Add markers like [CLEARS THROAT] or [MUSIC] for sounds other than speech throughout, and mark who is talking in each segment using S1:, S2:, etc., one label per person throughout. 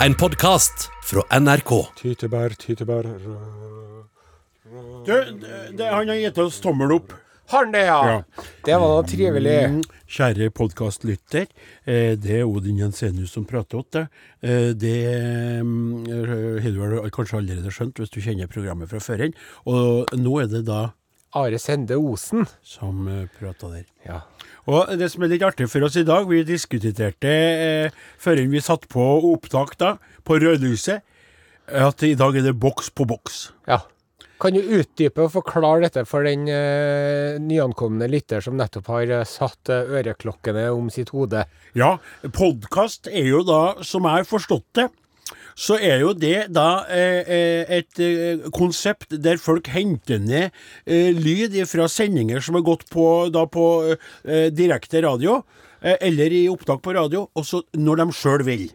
S1: En podkast fra NRK.
S2: Tytebær, tytebær rød.
S3: Du, det, det, han har gitt oss tommel opp. Mm,
S4: Har han det, ja? Det var da trivelig.
S3: Kjære podkastlytter, eh, det er Odin Jensenius som prater åt deg. Eh, Det mm, har du vel kanskje allerede skjønt hvis du kjenner programmet fra før. igjen. Og nå er det da
S4: Are Sende Osen.
S3: som eh, prater der.
S4: Ja.
S3: Og det som er litt artig for oss i dag, vi diskuterte eh, før vi satt på opptak da, på rødlyset, at i dag er det boks på boks.
S4: ja. Kan du utdype og forklare dette for den eh, nyankomne lytter som nettopp har eh, satt eh, øreklokkene om sitt hode?
S3: Ja, podkast er jo da, som jeg har forstått det, så er jo det da eh, eh, et eh, konsept der folk henter ned eh, lyd fra sendinger som har gått på, da på eh, direkte radio, eh, eller i opptak på radio, og så når de sjøl vil.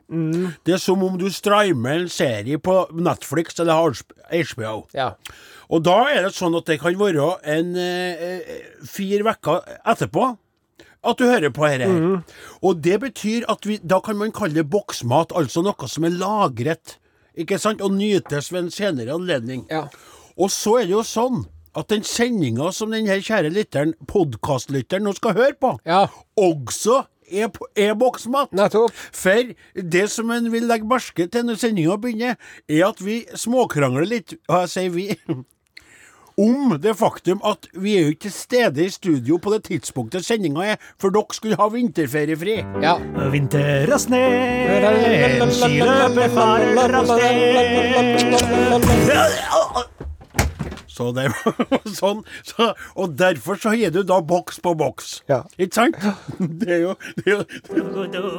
S3: Det er som om du strimer en serie på Netflix eller HBO.
S4: Ja.
S3: Og da er det sånn at det kan være en eh, eh, fire uker etterpå at du hører på dette.
S4: Mhm.
S3: her. Og det betyr at vi, da kan man kalle det boksmat, altså noe som er lagret, ikke sant, og nytes ved en senere anledning.
S4: Ja.
S3: Og så er det jo sånn at den sendinga som den her kjære lytteren, podkastlytteren, nå skal høre på,
S4: Ja.
S3: også er, på- er boksmat.
S4: Nettopp.
S3: For det som en vil legge merke til når sendinga begynner, er at vi småkrangler litt, og jeg sier vi, [LAUGHS] om det faktum at vi er jo ikke til stede i studio på det tidspunktet sendinga er, for dere skulle ha vinterferiefri.
S4: Ja.
S5: Vinter og sne, skiløperfarer av sted.
S3: Så det var [LAUGHS] sånn. Så, og derfor så gir du da boks på boks.
S4: Ja.
S3: Ikke sant? [LAUGHS] Det er jo, det er jo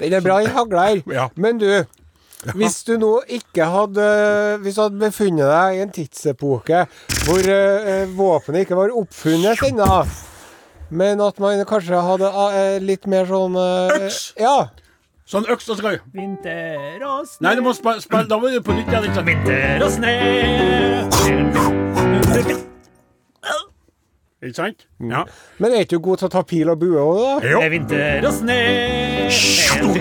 S4: Den er bra, den hagla her.
S3: [LAUGHS] Ja.
S4: Men du, hvis du nå ikke hadde Hvis du hadde befunnet deg i en tidsepoke hvor eh, eh, våpenet ikke var oppfunnet ennå, men at man kanskje hadde eh, litt mer sånn eh,
S3: Øks!
S4: Ja.
S3: Sånn øks og skøy.
S5: Vinter og sne.
S3: Nei, du må spille spille- Da må du på nytt. Ja, liksom.
S5: Vinter og sne.
S3: Ikke sant? Ja.
S4: Men er ikke du god til å ta pil og bue òg, da?
S3: Jo.
S5: Vinter og sne. Nå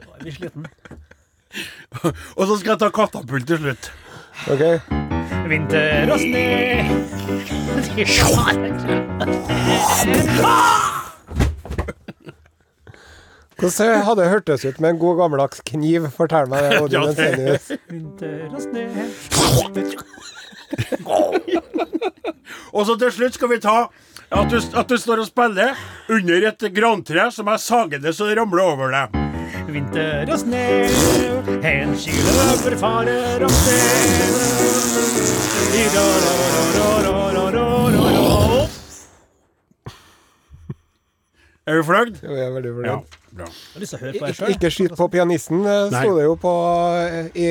S5: er vi sliten.
S3: Og så skal jeg ta katapult til slutt.
S4: Ok.
S5: Vinter og sne.
S4: Hvordan hadde det hørtes ut med en god gammeldags kniv? Fortell meg det. Odin
S3: Ja, det-
S4: Jensenius.
S5: Vinter og sne.
S3: [LAUGHS] Og så til slutt skal vi ta at du, at du står og spiller under et grantre som er sagende så det ramler over deg.
S5: Vinter og sne. En skiløper farer av sted.
S3: Er du fløyd?
S4: Jo, jeg er veldig fornøyd.
S3: Bra.
S5: Jeg har lyst til å høre på det
S4: Ik
S5: sjøl.
S4: ikke skyt på pianisten, eh,
S3: Nei.
S4: sto det jo på eh, i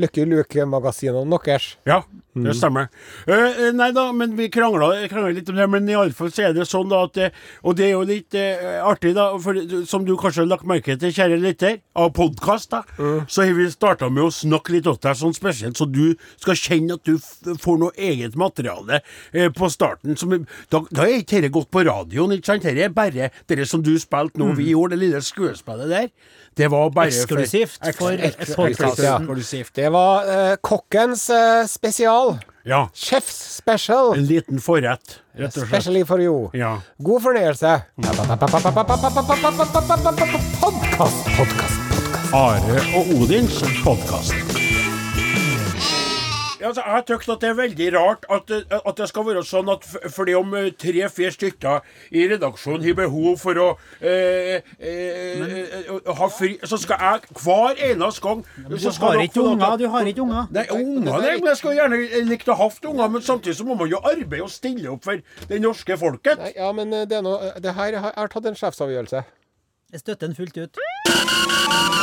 S4: Lucky Luke-magasinene deres.
S3: Ja,
S5: Mm.
S3: det stemmer. Eh, eh, nei da, men vi krangla, krangla litt om det. Men iallfall så er det sånn da at det, Og det er jo litt eh, artig, da, for du- som du kanskje har lagt merke til, kjære lytter, av podkast, da,
S5: Mm.
S3: så har vi starta med å snakke litt åt deg sånn spesielt, så du skal kjenne at du f får noe eget materiale eh, på starten. Som, da, da er ikke dette gått på radioen, ikke sant? Dette er bare det som du spilte nå,
S5: Mm.
S3: vi gjorde, det lille skuespillet der. Det var bare for-
S5: Eksklusivt for
S3: Eks-
S5: podcasten.
S3: Ja, eksklusivt.
S4: Det var eh, kokkens eh, spesial.
S3: Ja.
S4: Chefs special.
S3: En liten forrett, rett og slett.
S4: Specially for you.
S3: Ja.
S4: God fornøyelse. Podkast, podkast.
S3: Are og Odins podkast. Altså, jeg har tykt at det er veldig rart at, det- at det skal være sånn at f- fordi om tre-fire stykker i redaksjonen har behov for å eh, eh, eh, ha fri, så skal jeg hver eneste gang så
S5: Du
S3: skal
S5: har
S3: dere
S5: ikke
S3: få lov til å-
S5: unger, du har ikke unger.
S3: Nei, unger, nei, men jeg skulle gjerne likt å ha hatt unger, men samtidig så må man jo arbeide og stille opp for det norske folket.
S4: Nei, ja, men eh, det er noe Det her har- jeg har tatt en sjefsavgjørelse.
S5: Jeg støtter den fullt ut.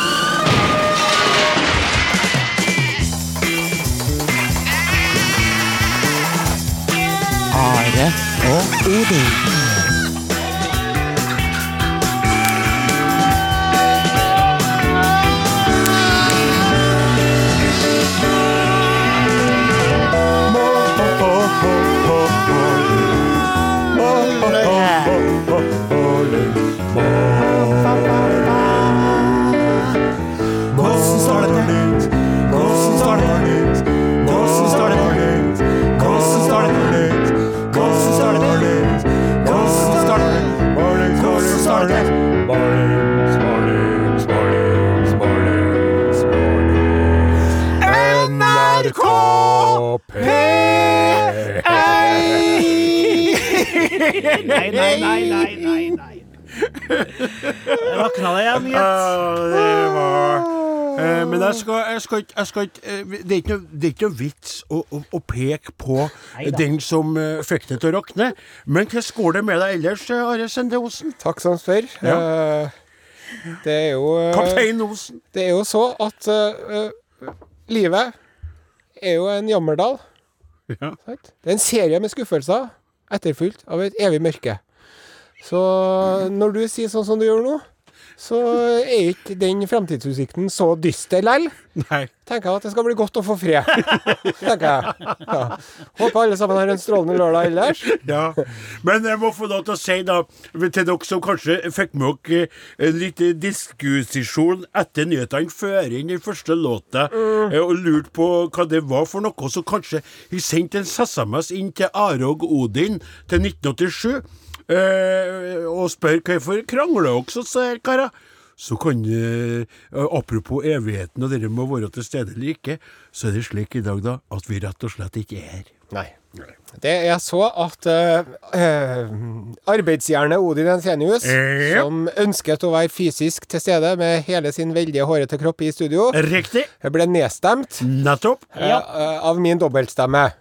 S3: Å,
S5: Nei, nei, nei, nei, nei, nei. Våkna det igjen, gitt.
S3: Ja, det var Eh, Men jeg skal, jeg skal ikke, jeg skal ikke eh, vi- det, er ikke noe, det er ikke noe vits å, å, å peke på
S5: Neida.
S3: den som eh, fikk det til å rakne. Men hvordan går det med deg ellers, eh, Are Sende Osen?
S4: Takk som spør. Eh, Det er jo eh,
S3: Kaptein Osen.
S4: Det er jo så at eh, eh, livet er jo en jammerdal.
S3: Ja.
S4: Sant? Det er en serie med skuffelser etterfulgt av et evig mørke. Så når du sier sånn som du gjør nå, så er ikke den fremtidsutsikten så dyster lell.
S3: Nei.
S4: Tenker jeg at det skal bli godt å få fred. [LAUGHS] Tenker jeg. Ja. Håper alle sammen har en strålende lørdag ellers.
S3: Ja. Men jeg må få lov til å si, da, til dere som kanskje fikk med dere eh, en liten diskusjon etter nyhetene før inn den første låta, eh, og lurte på hva det var for noe, så kanskje vi sendte en SMS inn til Are og Odin til 1987 eh, og spør hvorfor krangler dere så sær, karer? Så kan eh, Apropos evigheten og dere med å være til stede eller ikke, så er det slik i dag, da, at vi rett og slett ikke er her.
S4: Nei. Det er så at uh, arbeidsjernet Odin Ensenius,
S3: Ja.
S4: som ønsket å være fysisk til stede med hele sin veldig hårete kropp i studio,
S3: Riktig.
S4: ble nedstemt
S3: Nettopp.
S4: eh, eh, av min dobbeltstemme.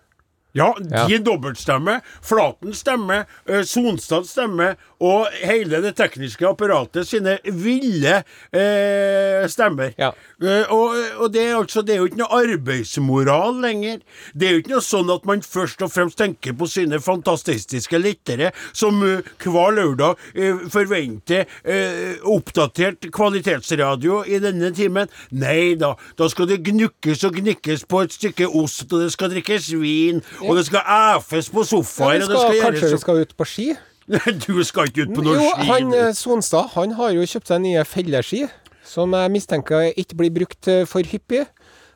S3: Ja, de
S4: Ja.
S3: dobbeltstemme, Flaten stemme, eh, Sonstad stemme og hele det tekniske apparatet sine ville eh, stemmer.
S4: Ja.
S3: Eh, og og det, er altså, det er jo ikke noe arbeidsmoral lenger. Det er jo ikke noe sånn at man først og fremst tenker på sine fantastiske lyttere, som eh, hver lørdag eh, forventer eh, oppdatert kvalitetsradio i denne timen. Nei da, da skal det gnukkes og gnikkes på et stykke ost, og det skal drikkes vin, og det skal æfes på
S4: Ja,
S3: sofaer,
S4: vi
S3: og det
S4: skal,
S3: skal
S4: kanskje vi
S3: gjøres så-
S4: skal ut på ski?
S3: Nei, [LAUGHS] Du skal ikke ut på
S4: Jo,
S3: noe ski.
S4: han eh, Sonstad han har jo kjøpt seg nye felleski, som jeg mistenker ikke blir brukt eh, for hyppig.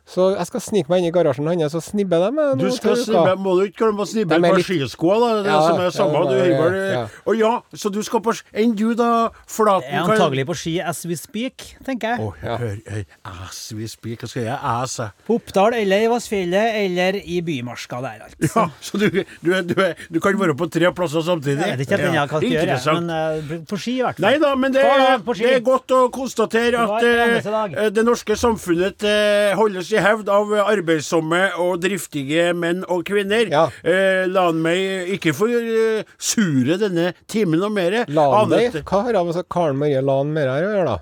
S4: Så jeg skal snike meg inn i garasjen hans og snibbe dem. jeg,
S3: Du
S4: nå
S3: skal
S4: til uka.
S3: snibbe, må du ikke glemme å snibbe
S4: De
S3: et
S4: er
S3: par
S4: litt-
S3: skisko, da. Det er
S4: Ja,
S3: det som
S4: ja,
S3: er samme.
S4: det
S3: Du
S4: er det,
S3: hiver
S4: ja.
S3: Og ja, så du skal på ski. Enn du, da, Flaten?
S5: Jeg er antagelig på ski as we speak, tenker jeg.
S3: Å, hør, hør, ass, vi spiker, hva skal jeg ass? jeg?
S5: På Oppdal eller i Vassfjellet eller i Bymarska der, altså.
S3: Ja, så du, du, er- du, er- du kan være på tre plasser samtidig?
S5: Jeg vet ikke helt hva jeg skal gjøre, jeg,
S3: Interessant.
S5: men eh, på ski i hvert
S3: Nei
S5: fall.
S3: da, men det,
S5: Hver
S3: er-
S5: dag på ski.
S3: det er godt å konstatere
S5: Hver
S3: at eh,
S5: eneste dag.
S3: eh, det norske samfunnet eh, holdes i hevd av eh, arbeidsomme og driftige menn og kvinner.
S4: Ja.
S3: Eh, la han meg ikke forsure denne timen noe mer.
S4: Lan
S3: Annet-
S4: meg? Hva har altså Karen Marie Lan med det her å gjøre, da?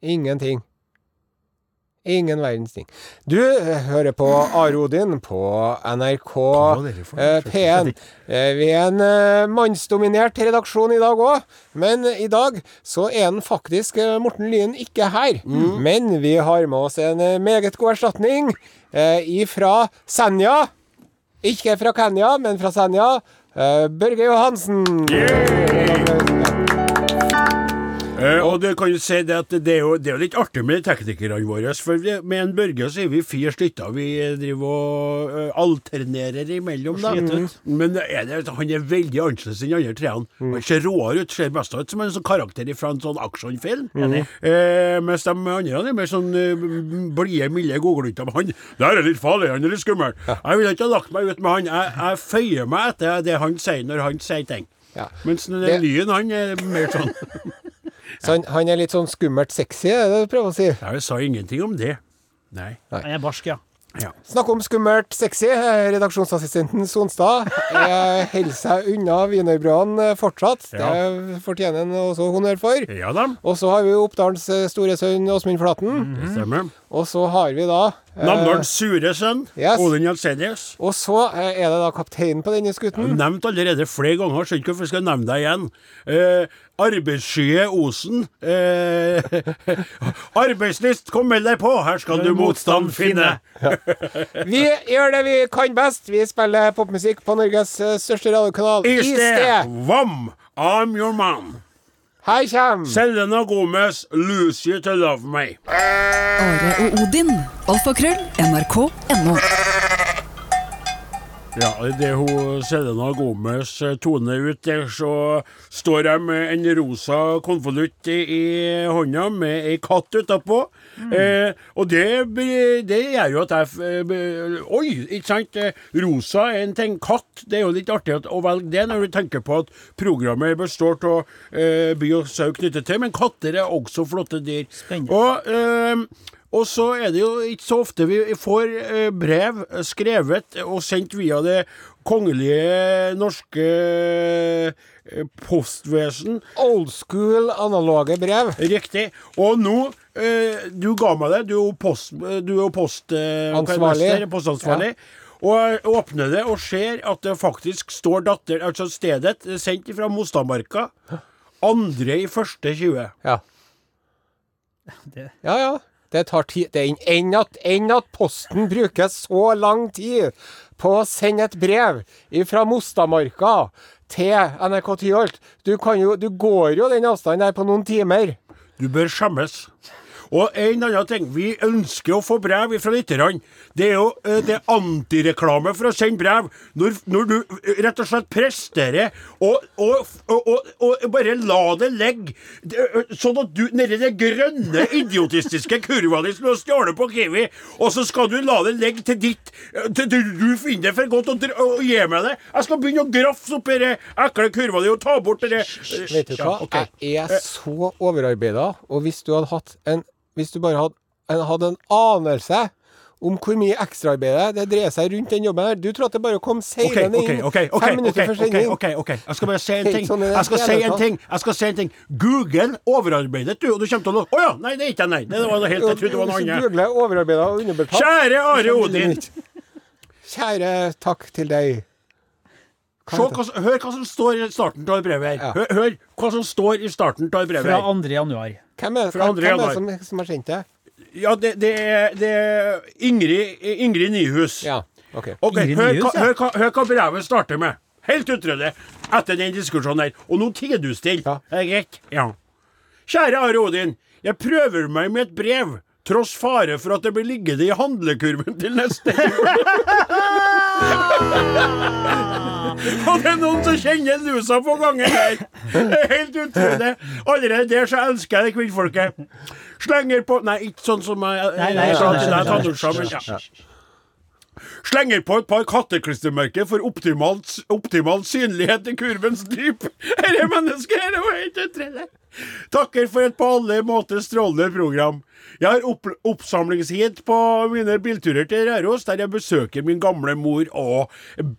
S4: Ingenting. Ingen verdens ting. Du eh, hører på Are Odin på NRK
S3: Hva var det for noe?
S4: eh, P1. Eh, Vi er en eh, mannsdominert redaksjon i dag òg, men i dag så er den faktisk eh, Morten Lyen ikke her.
S3: Mm.
S4: Men vi har med oss en eh, meget god erstatning eh, ifra Senja. Ikke fra Kenya, men fra Senja. Eh, Børge Johansen.
S3: Eh, og det kan jo si det at det er jo, det er jo litt artig med teknikerne våre. For vi, med en Børge så er vi fire stykker. Vi driver og eh, alternerer imellom. Da. Mm.
S5: Sliter ut.
S3: Men er det, altså, han er veldig annerledes enn de andre treene. Han ser råere ut, ser mest ut som en sånn karakter fra en sånn actionfilm. Eh, mens de andre er mer sånn eh, blide, milde godglutter. Men han der er litt farlig, han er litt skummel. Jeg ville ikke ha lagt meg ut med han. Jeg, jeg føyer meg etter det han sier når han sier ting.
S4: Ja.
S3: Mens den
S4: Det-
S3: lyen, han er mer sånn
S4: Så han, han er litt sånn skummelt sexy, er det du prøver å si?
S3: Jeg sa ingenting om det. Nei.
S5: Jeg er barsk, ja.
S3: Ja.
S4: Snakk om skummelt sexy. Eh, Redaksjonsassistenten Sonstad eh, holder seg unna wienerbrødene eh, fortsatt. Det fortjener han også honnør for.
S3: ja da,
S4: Og så har vi jo Oppdalens eh, store sønn Åsmund Flaten.
S3: det stemmer.
S4: Og så har vi da eh,
S3: Namdalens Mm. sure sønn,
S4: yes.
S3: Odin Jensenius.
S4: Og så eh, er det da kapteinen på denne skutten.
S3: Nevnt allerede flere ganger, skjønner ikke hvorfor jeg skal nevne deg igjen. Eh, arbeidsskye Osen. Eh, [LAUGHS] arbeidslyst, kom meld deg på, her skal du motstand finne.
S4: Vi gjør det vi kan best. Vi spiller popmusikk på Norges eh, største radiokanal
S3: I sted, vam, I'm your man.
S4: Her kommer
S3: Selena Gomez, lose you to love me.
S6: Are og Odin. Alfakrøll. NRK.no.
S3: Ja, det er hun Selena Gomez eh, toner ut der, så står jeg med en rosa konvolutt i i hånda med ei katt utapå. Eh, og det, blir- det gjør jo at jeg f- eh, be- Oi, ikke sant? Eh, Rosa er en ting. Katt, det er jo litt artig at- å velge det når du tenker på at programmet består av eh, by og sau knyttet til, men katter er også flotte dyr.
S6: Spennende.
S3: Og eh, og så er det jo ikke så ofte vi får eh, brev skrevet og sendt via det kongelige norske eh, postvesen.
S4: Old school analoge brev.
S3: Riktig. Og nå eh, Du ga meg det. Du er jo post... Du er jo post eh, hva heter det?
S4: Ansvarlig.
S3: Postansvarlig. Og jeg åpner det og ser at det faktisk står datter, altså stedet, eh, sendt fra Mostadmarka. Andre i første 20. [LAUGHS]
S4: Ja.
S6: Det-
S4: Ja, ja. Det tar tid. Det er en- enn at, enn at Posten bruker så lang tid på å sende et brev fra Mostamarka til NRK Tyholt. Du, kan jo, du går jo den avstanden der på noen timer.
S3: Du bør skjemmes. Og en annen ting. Vi ønsker å få brev fra lytterne. Det er jo eh, det er antireklame for å sende brev. Når, når du eh, rett og slett presterer og, og, og, og, og bare la det ligge. Det, eh, Sånn at du nedi den grønne, idiotistiske kurva di som du har stjålet på Kiwi, og så skal du la det ligge til ditt eh, til du, du finner det for godt og, dr- og gi meg det. Jeg skal begynne å grafse oppi den ekle kurva di og ta bort det
S4: Vet du hva? Jeg
S3: Eh.
S4: er så overarbeida, og hvis du hadde hatt en Hvis du bare hadde en, hadde en anelse om hvor mye ekstraarbeid det dreier seg rundt den jobben her Du tror at det bare kom seilende
S3: ok,
S4: inn
S3: ok, ok,
S4: fem
S3: ok,
S4: minutter
S3: ok,
S4: før sending.
S3: ok, ok. Jeg skal bare si en
S4: Helt
S3: ting.
S4: sånn er det.
S3: Jeg skal si en
S4: Jævla
S3: ting. Jeg skal si en ting. Google overarbeidet, du, og du kommer til å Å ja! Nei, det er ikke jeg, nei. Nei, Det var noe helt, jeg trodde det var noe
S4: Hvis du
S3: annet.
S4: googler overarbeida og underbetalt
S3: Kjære Are Odin,
S4: Kjære takk til deg.
S3: se hva, som- hør hva som står i starten av brevet her. Hør, hør hva som står i starten av brevet
S6: Fra
S3: her.
S6: 2. januar.
S4: Hvem er,
S3: Fra
S4: hvem,
S3: andre
S4: hvem er
S3: januar.
S4: det som, som har sendt det?
S3: Ja, det, det er, det er Ingrid, Ingrid Nyhus.
S4: Ja, OK.
S3: Ok,
S6: Ingrid
S3: hør, hva,
S6: Nyhus, ja.
S3: hør, hva, hør hva brevet starter med. Helt utrydde etter den diskusjonen her. Og nå tier du stille.
S4: Ja.
S3: Er det greit? Ja. Kjære Are Odin. Jeg prøver meg med et brev, tross fare for at det blir liggende i handlekurven til neste [LAUGHS] jul. Og det er noen som kjenner lusa på gangen her. Det er Helt utrolig. Allerede der så elsker jeg det kvinnfolket. Slenger på Nei, ikke sånn som jeg
S6: Nei, nei, jeg
S3: sa
S6: skjønner,
S3: til deg,
S6: skjønner,
S3: Tannulsa, men ja. Slenger på et par katteklistremerker for optimal, optimal synlighet i kurvens dyp. [LAUGHS] Dette mennesket her var helt utrelle. Takker for et på alle måter strålende program. Jeg har opp, oppsamlingsheat på mine bilturer til Røros, der jeg besøker min gamle mor og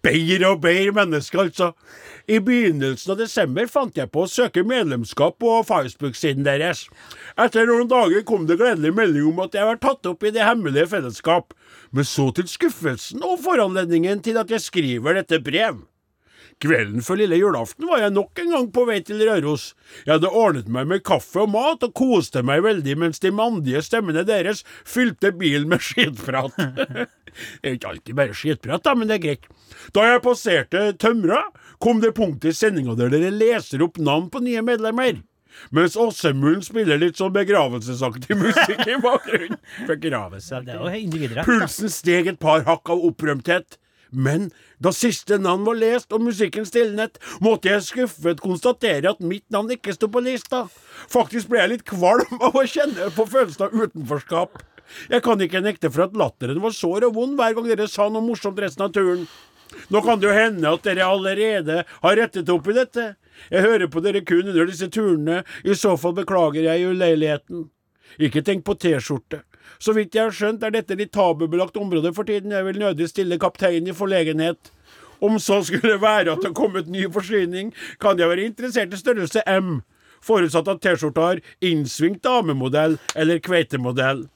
S3: beir og beir mennesker, altså. I begynnelsen av desember fant jeg på å søke medlemskap på Facebook-siden deres. Etter noen dager kom det gledelig melding om at jeg var tatt opp i det hemmelige fellesskap. Men så til skuffelsen og foranledningen til at jeg skriver dette brev. Kvelden før lille julaften var jeg nok en gang på vei til Røros. Jeg hadde ordnet meg med kaffe og mat og koste meg veldig mens de mandige stemmene deres fylte bilen med [LAUGHS] skitprat. det er ikke alltid bare skitprat, da, men det er greit. Da jeg passerte Tømra, kom det punkt i sendinga der dere leser opp navn på nye medlemmer. Mens Åssemund spiller litt sånn begravelsesaktig musikk i
S6: [LAUGHS]
S3: bakgrunnen. Begravelse,
S6: Det er jo individrett. da.
S3: Pulsen steg et par hakk av opprømthet. Men da siste navn var lest og musikken stilnet, måtte jeg skuffet konstatere at mitt navn ikke sto på lista. Faktisk ble jeg litt kvalm [LAUGHS] av å kjenne på følelsen av utenforskap. Jeg kan ikke nekte for at latteren var sår og vond hver gang dere sa noe morsomt resten av turen. Nå kan det jo hende at dere allerede har rettet opp i dette. Jeg hører på dere kun under disse turene, i så fall beklager jeg uleiligheten. Ikke tenk på T-skjorte. Så vidt jeg har skjønt, er dette litt tabubelagt område for tiden. Jeg vil nødig stille kapteinen i forlegenhet. Om så skulle [LAUGHS] det være at det har kommet ny forsyning, kan jeg være interessert i størrelse M, forutsatt at T-skjorta har innsvingt damemodell eller kveitemodell.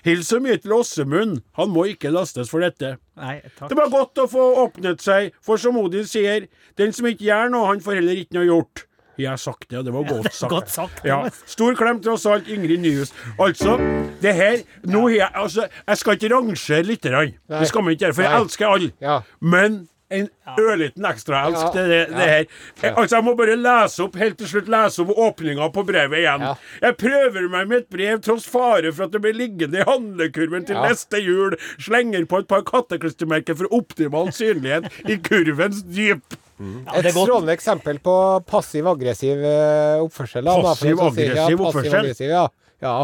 S3: Hils så mye til Åssemund, han må ikke lastes for dette.
S6: Nei, takk.
S3: Det var godt å få åpnet seg, for som Odin sier, den som ikke gjør noe, han får heller ikke noe gjort. Jeg har sagt det, og det var godt
S6: [LAUGHS]
S3: sagt.
S6: godt sagt,
S3: ja.
S6: Thomas.
S3: Stor klem tross alt, Ingrid Nyhus. Altså, det her Nå har jeg Altså, jeg skal ikke rangere lytterne. Det skal man ikke gjøre, for jeg
S4: Nei.
S3: elsker alle.
S4: Ja.
S3: Men en ørliten ekstraelsk
S4: Ja.
S3: til det, det her. Eh, Altså, jeg må bare lese opp helt til slutt lese opp åpninga på brevet igjen.
S4: Ja.
S3: Jeg prøver meg med et brev tross fare for at det blir liggende i handlekurven til
S4: Ja.
S3: neste jul. Slenger på et par katteklistremerker for optimal synlighet i kurvens dyp.
S6: Ja, det
S4: Et
S6: er godt.
S4: strålende eksempel på passiv-aggressiv eh, oppførsel. da, da, for å si- ja,
S3: Passiv-aggressiv
S4: passiv-aggressiv, Ja. ja.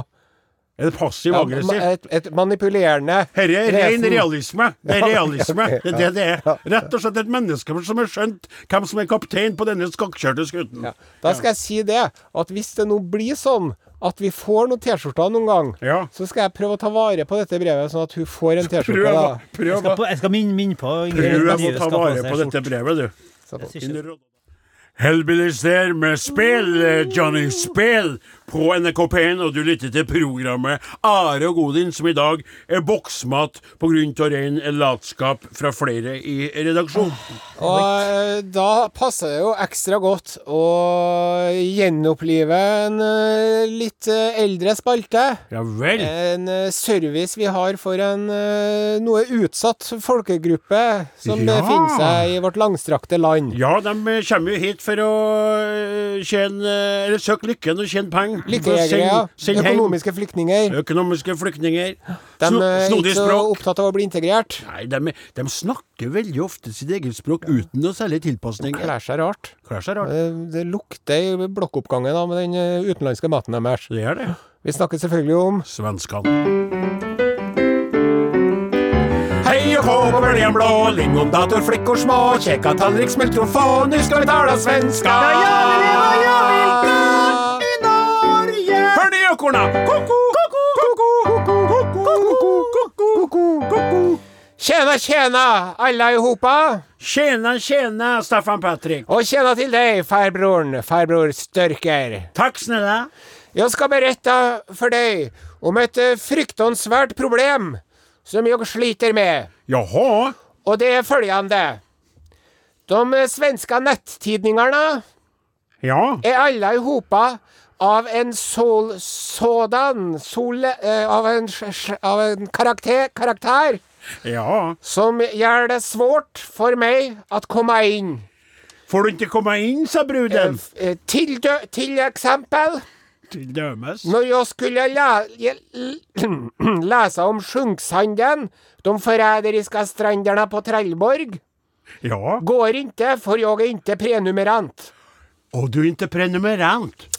S3: Er det passiv
S4: ja
S3: aggressiv?
S4: ma- et, et manipulerende
S3: Herre er ren
S4: vesen.
S3: realisme. Det er
S4: [LAUGHS] Ja,
S3: realisme.
S4: ok,
S3: Det er det det er. Rett og slett et menneske som har skjønt hvem som er kaptein på denne skakkjørte skuten.
S4: Ja. Da skal jeg si det, at hvis det nå blir sånn at vi får noen T-skjorter noen gang,
S3: Ja.
S4: så skal jeg prøve å ta vare på dette brevet, sånn at hun får en T-skjorte.
S3: Prøv,
S4: da.
S6: Jeg
S3: prøv,
S6: skal, på, jeg skal minne, minne på Ingrid
S3: prøv å
S6: Dyve
S3: ta
S6: skal få
S3: vare
S6: seg
S3: på
S6: skjorte.
S3: dette brevet, du.
S6: Jeg synes det.
S3: Hellbillies der med spill, eh, Johnny Spill, på NRK P1, og du lytter til programmet Are og Godin, som i dag er boksmat på grunn av ren latskap fra flere i redaksjonen.
S4: Og eh, da passer det jo ekstra godt å gjenopplive en eh, litt eh, eldre spalte.
S3: Ja vel.
S4: En eh, service vi har for en eh, noe utsatt folkegruppe som
S3: Ja.
S4: befinner seg i vårt langstrakte land.
S3: Ja, de eh, kommer jo hit for å eh, tjene eh, Eller søke lykken og tjene penger.
S4: Lykkejegere, ja. økonomiske flyktninger.
S3: Økonomiske flyktninger.
S4: De eh,
S3: Sno-
S4: er
S3: Snodig
S4: ikke så
S3: språk.
S4: opptatt av å bli integrert.
S3: Nei, de, de snakker veldig ofte sitt eget språk uten noe særlig tilpasning.
S4: Klær seg rart.
S3: Klær seg rart.
S4: Det, det lukter i blokkoppgangen av den eh, utenlandske maten deres.
S3: Det er det.
S4: Vi snakker selvfølgelig om
S3: Svenskene. Hei og hå på bølgen blå, lingondator, flikkor små, kjekka tallrik, smelter og få, nu skal vi tala svenska. Ja, vi lever, ja, vi i Norge. Hør de økorna. Ko-ko, ko-ko, ko-ko, ko-ko, ko-ko, ko-ko, ko-ko.
S4: Tjena, tjena, alle i hopa!
S3: Tjena, tjena, Staffan Patrik.
S4: Og tjena til deg, farbroren, farbror Størker.
S3: Takk snälla.
S4: Jeg skal berette for deg om et eh, fryktansvært problem som jeg sliter med,
S3: Jaha.
S4: og det er følgende. De eh, svenske nettidningene
S3: Ja.
S4: är alla ihopa av en sol, sådan, sol, eh, av en, sch- sch- av en karaktär, karaktär
S3: Ja.
S4: som gör det svårt för mig att komma in.
S3: Får du ikke komme inn, sa bruden.
S4: Eh, Till, dö- till exempel,
S3: Til dømes.
S4: när jag skulle lä, [CLEARS THROAT] lä- läsa om sjunksanden, de förräderiska stränderna på Trelleborg,
S3: Ja.
S4: går inte för jag är inte prenumerant.
S3: Og du er ikke prenumerant.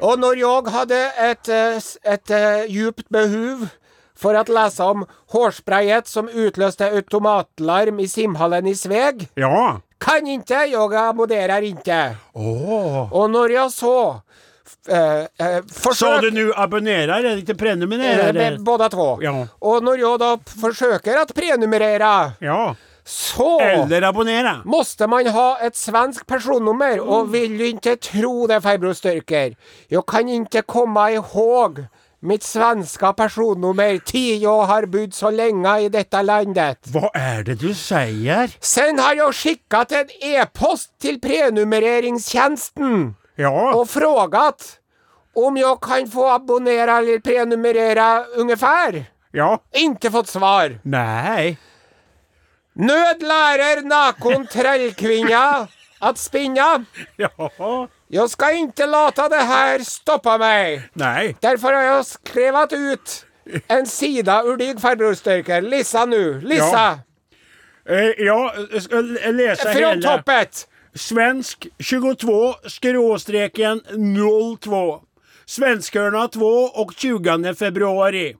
S4: Og når jeg hadde et, eh, s- et eh, djupt behov for å lese om hårsprayet som utløste automatlarm i simhallen i Sveg,
S3: Ja.
S4: kan ikke, jeg abonnerer ikke.
S3: Åh.
S4: Og når jeg så f- eh, eh,
S3: Så
S4: forsøk-
S3: du nå abonnerer, er det ikke
S4: eh,
S3: prenumererer?
S4: med Både to.
S3: Ja.
S4: Og når jeg da p- forsøker å prenumerere,
S3: Ja.
S4: så
S3: Eller abonnerer.
S4: Måste man ha ett svensk personnummer?
S3: Mm.
S4: Och vill du inte tro det farbror Styrker? Jag kan inte komma ihåg mitt svenska personnummer. Tio år har bott så länge i detta landet.
S3: Hva er det du sier?
S4: Sen har jag skickat en e-post till prenumereringstjänsten
S3: Ja.
S4: och frågat om jag kan få abonnera eller prenumerera ungefär.
S3: Ja.
S4: Inte fått svar.
S3: Nei.
S4: Nöd lärer nakon trällkvinna att spinna.
S3: Ja.
S4: Jeg skal ikke late det her stoppe meg.
S3: Nei.
S4: Derfor har jeg skrevet ut en side ur din farbrorstyrker. Lissa nå. Lissa.
S3: Eh, ja, jeg skal lese
S4: Fra
S3: hele.
S4: toppet.
S3: Svensk 22 skråstreken 02. Svenskhörna 2 och 20 februari.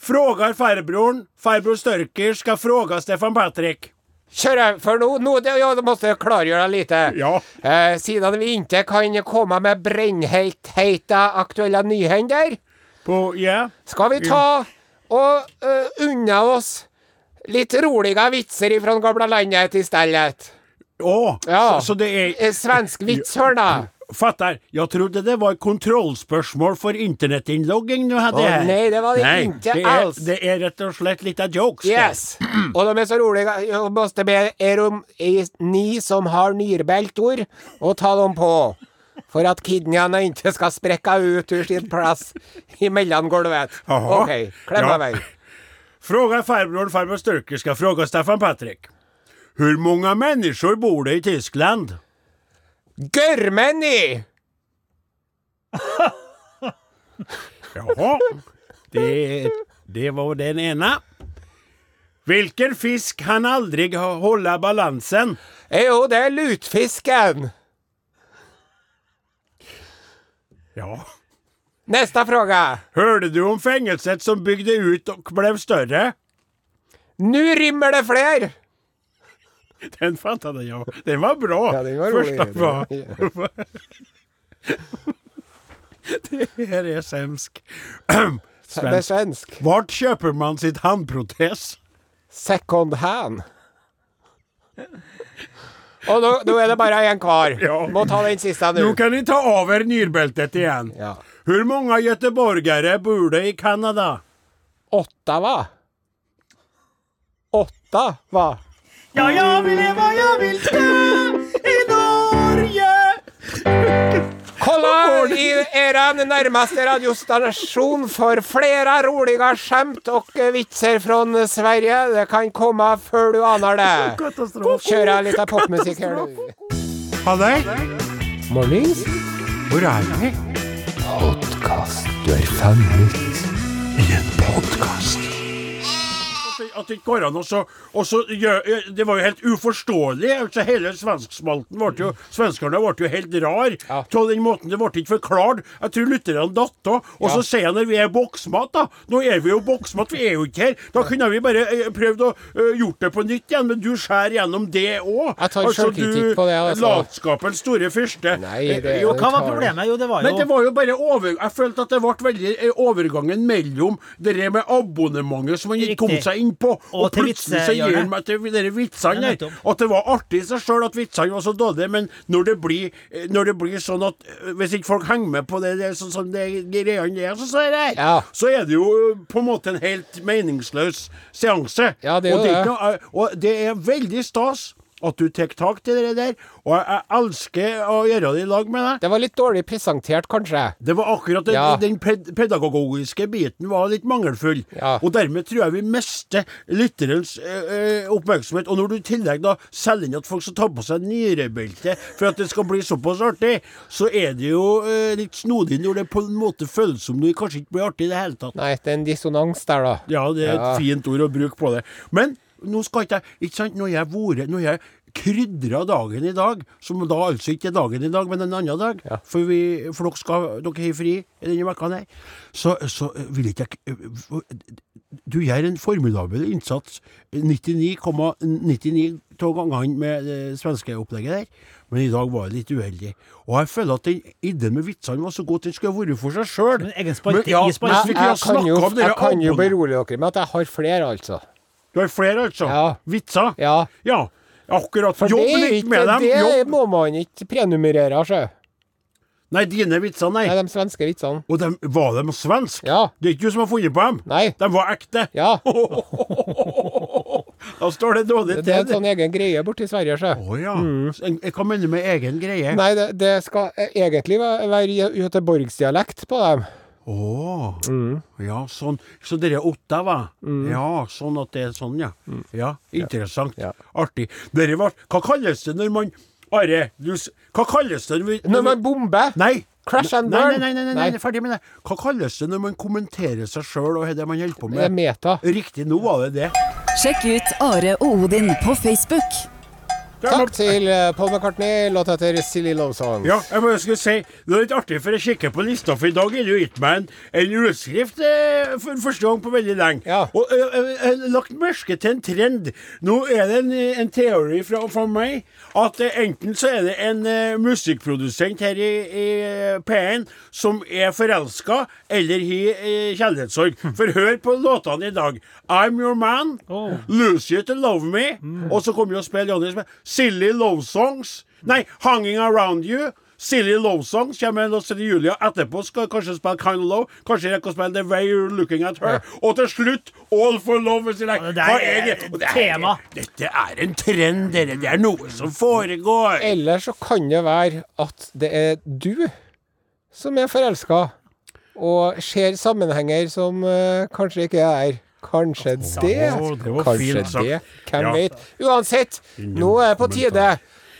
S3: Frågar farbrorn. Farbror Störker ska fråga Stefan Patrik.
S4: Kjør jeg for nå. nå det, jeg måtte klargjøre litt.
S3: Ja.
S4: Eh, siden vi ikke kan komme med brennheite aktuelle nyhender,
S3: På, ja.
S4: skal vi ta og eh, unne oss litt rolige vitser ifrån gamla landet i stedet.
S3: Åh,
S4: Ja.
S3: så, så det är...
S4: Eh, Svensk vits, hør da.
S3: Fattar. Jag trodde det var ett kontrollspörsmål för internetinlogging du hade
S4: Åh,
S3: här.
S4: nej, det var det inte
S3: det
S4: alls.
S3: Är, det är rätt och slett lite jokes. det.
S4: Yes. Og de er så rolige. Jeg måtte be er om er ni som har nyrbelter, å ta dem på. For at kidneyene ikke skal sprekke ut ur sin plass i mellomgulvet.
S3: Jaha.
S4: OK, klem
S3: Ja.
S4: av meg.
S3: Frågar farbrorn. Farbror Störker ska fråga Stefan Patrik. Hvor mange mennesker bor det i Tyskland?
S4: Gørmeni!
S3: Jaha. Det, det var den ene. Hvilken fisk kan aldri ha- holde balansen?
S4: Jo, det er lutfisken.
S3: Ja.
S4: Neste fråga.
S3: Hørte du om fengelset som bygde ut og ble større?
S4: Nu rimmer det fler!
S3: [LAUGHS] Den fant jeg, ja. Den var bra.
S4: Ja, den var rolig.
S3: Første var.
S4: [LAUGHS]
S3: [LAUGHS] Det her er semsk.
S4: Det er
S3: Svensk.
S4: svensk.
S3: Hvor kjøper man sitt handprotes?
S4: Second hand. Og nå, nå er det bare én hver.
S3: Ja.
S4: Må ta den siste
S3: Nå
S4: nå.
S3: kan de ta over nyrbeltet igjen.
S4: Ja.
S3: Hvor mange göteborgere bor det i Canada?
S4: Ottawa. Ottawa.
S5: Ja, jeg vil leve, jeg vil dø i Norge.
S4: Kolla i eran nærmeste radiostasjon for flere roliga skämt og vitser fra Sverige. Det kan komme før du aner det.
S5: Katastrofe.
S4: Kjører litt av popmusikk her nå.
S3: Halløy?
S4: Mornings.
S3: Hvor er vi?
S4: Podkast. Du er fanget i en podkast.
S3: At det ikke går an å så og så gjør- Det var jo helt uforståelig. Altså, hele svenskspalten ble jo Svenskene ble jo helt rar.
S4: Ja.
S3: På den måten Det ble ikke forklart. Jeg tror lytterne datt av. Og så sier jeg når vi er boksmat, da. Nå er vi jo boksmat, vi er jo ikke her. Da kunne vi bare eh, prøvd å eh, gjort det på nytt igjen, men du skjærer gjennom det òg.
S4: Jeg tar selvkritikk på det, altså.
S3: Latskapens store fyrste.
S4: Nei, det
S6: Jo, hva var problemet? Jo, det var
S3: Men det
S6: jo
S3: var jo bare over... Jeg følte at det ble veldig eh, overgangen mellom det der med abonnementet som han ikke kom
S6: Riktig.
S3: seg inn på, og,
S6: Og til
S3: plutselig så gir
S6: vitsehjørnet.
S3: han meg til de der vitsene
S6: Ja,
S3: der.
S6: nettopp.
S3: At det var artig i seg sjøl at vitsene var så dårlige, men når det blir, eh, når det blir sånn at eh, hvis ikke folk henger med på det, det er sånn som det greiene er, sånn som det er,
S4: Ja.
S3: så er det jo eh, på en måte en helt meningsløs seanse.
S4: Ja, det er
S3: og
S4: jo
S3: er
S4: det.
S3: ikke noe- eh, Og det er veldig stas at du tar tak i det der, og jeg, jeg elsker å gjøre det i lag med deg.
S4: Det var litt dårlig presentert, kanskje.
S3: Det var akkurat den,
S4: Ja.
S3: den ped pedagogiske biten var litt mangelfull.
S4: Ja.
S3: Og dermed tror jeg vi mister lytterens eh, eh, oppmerksomhet. Og når du i tillegg da selger inn at folk skal ta på seg nyrebelte for at det skal bli såpass artig, så er det jo eh, litt snodig når det på en måte føles som det kanskje ikke blir artig i det hele tatt.
S4: Nei, det er en dissonans der, da.
S3: Ja, det er et
S4: Ja.
S3: fint ord å bruke på det. Men nå skal ikke jeg Ikke sant, når jeg vore, når jeg krydra dagen i dag, som da altså ikke er dagen i dag, men en annen dag, for, vi, for dere, skal, dere har fri i denne uka, her, så, så eh, vil ikke jeg eh, Du gjør en formidabel innsats 99,99 av gangene med det svenske opplegget der, men i dag var jeg litt uheldig. Og jeg føler at den ideen med vitsene var så god at den skulle ha vært for seg sjøl.
S6: Men egen spalte i spalten.
S4: Jeg, jeg kan jo, jeg kan jo berolige dere med at jeg har flere, altså.
S3: du har flere, altså?
S4: Ja.
S3: Vitser?
S4: Ja.
S3: Ja, Akkurat.
S4: For
S3: Jobb
S4: det, er
S3: litt
S4: ikke-
S3: med dem.
S4: det
S3: Jobb.
S4: må man ikke prenumerere, sjø.
S3: Nei, dine vitser, nei.
S4: Det er de svenske vitsene.
S3: Og dem, var de svenske?
S4: Ja.
S3: Det er ikke du som har funnet på dem.
S4: Nei.
S3: De var ekte.
S4: Ja.
S3: [LAUGHS] Da står det dårlig
S4: Det er en
S3: til.
S4: sånn egen greie borti Sverige, sjø.
S3: Å ja. En- Hva mener du med egen greie?
S4: Nei, det, det skal eh, egentlig væ- være gø- göteborgsdialekt på dem.
S3: Å.
S4: Mm.
S3: Ja, sånn. Så dere er Ottawa? Ja, sånn at det er sånn, ja. Ja, interessant.
S4: Mm. Ja.
S3: Artig. Dere var Hva kalles det når man Are, du s- Hva kalles det når vi
S4: Når man bomber!
S3: Nei!
S4: Crash and
S3: Nei,
S4: burn.
S3: Nei, nei, nei, nei, nei, ferdig med det. Hva kalles det når man kommenterer seg sjøl og det man holder på
S4: Det er
S3: med?
S4: meta.
S3: Riktig, nå var det det.
S7: Sjekk ut Are og Odin på Facebook.
S4: Takk til eh, Paul McCartney, låt etter Silly Love Songs.
S3: Ja, jeg bare skulle si, det er litt artig, for jeg kikker på lista, for i dag er det jo gitt meg en, en utskrift eh, for første gang på veldig lenge.
S4: Ja.
S3: Og eh, jeg jeg har lagt merke til en trend. Nå er det en, en teori fra, fra meg at eh, enten så er det en eh, musikkprodusent her i, i eh, P1 som er forelska, eller har eh, kjærlighetssorg. For hør på låtene i dag. I'm Your Man, Lose You To Love Me, og så kommer jo å spille Johnny Smith. Silly Love Songs. Nei, Hanging Around You. Silly Love Songs kommer en låt til Julia. Etterpå skal jeg kanskje spille Kind of Love. Kanskje jeg rekker å spille The Way You're Looking At Her. Og til slutt All for Love. Hvis jeg
S6: Ja,
S3: rekker.
S6: det der
S3: Hva
S6: er
S3: det? Og det er-
S6: tema.
S3: Dette er en trend, dere. Det er noe som foregår.
S4: Eller så kan det være at det er du som er forelska, og ser sammenhenger som eh, kanskje ikke er der. Kanskje det.
S3: Å, det var
S4: Kanskje
S3: fint sagt.
S4: det. Hvem
S3: Ja.
S4: vet. Uansett, nå er det på tide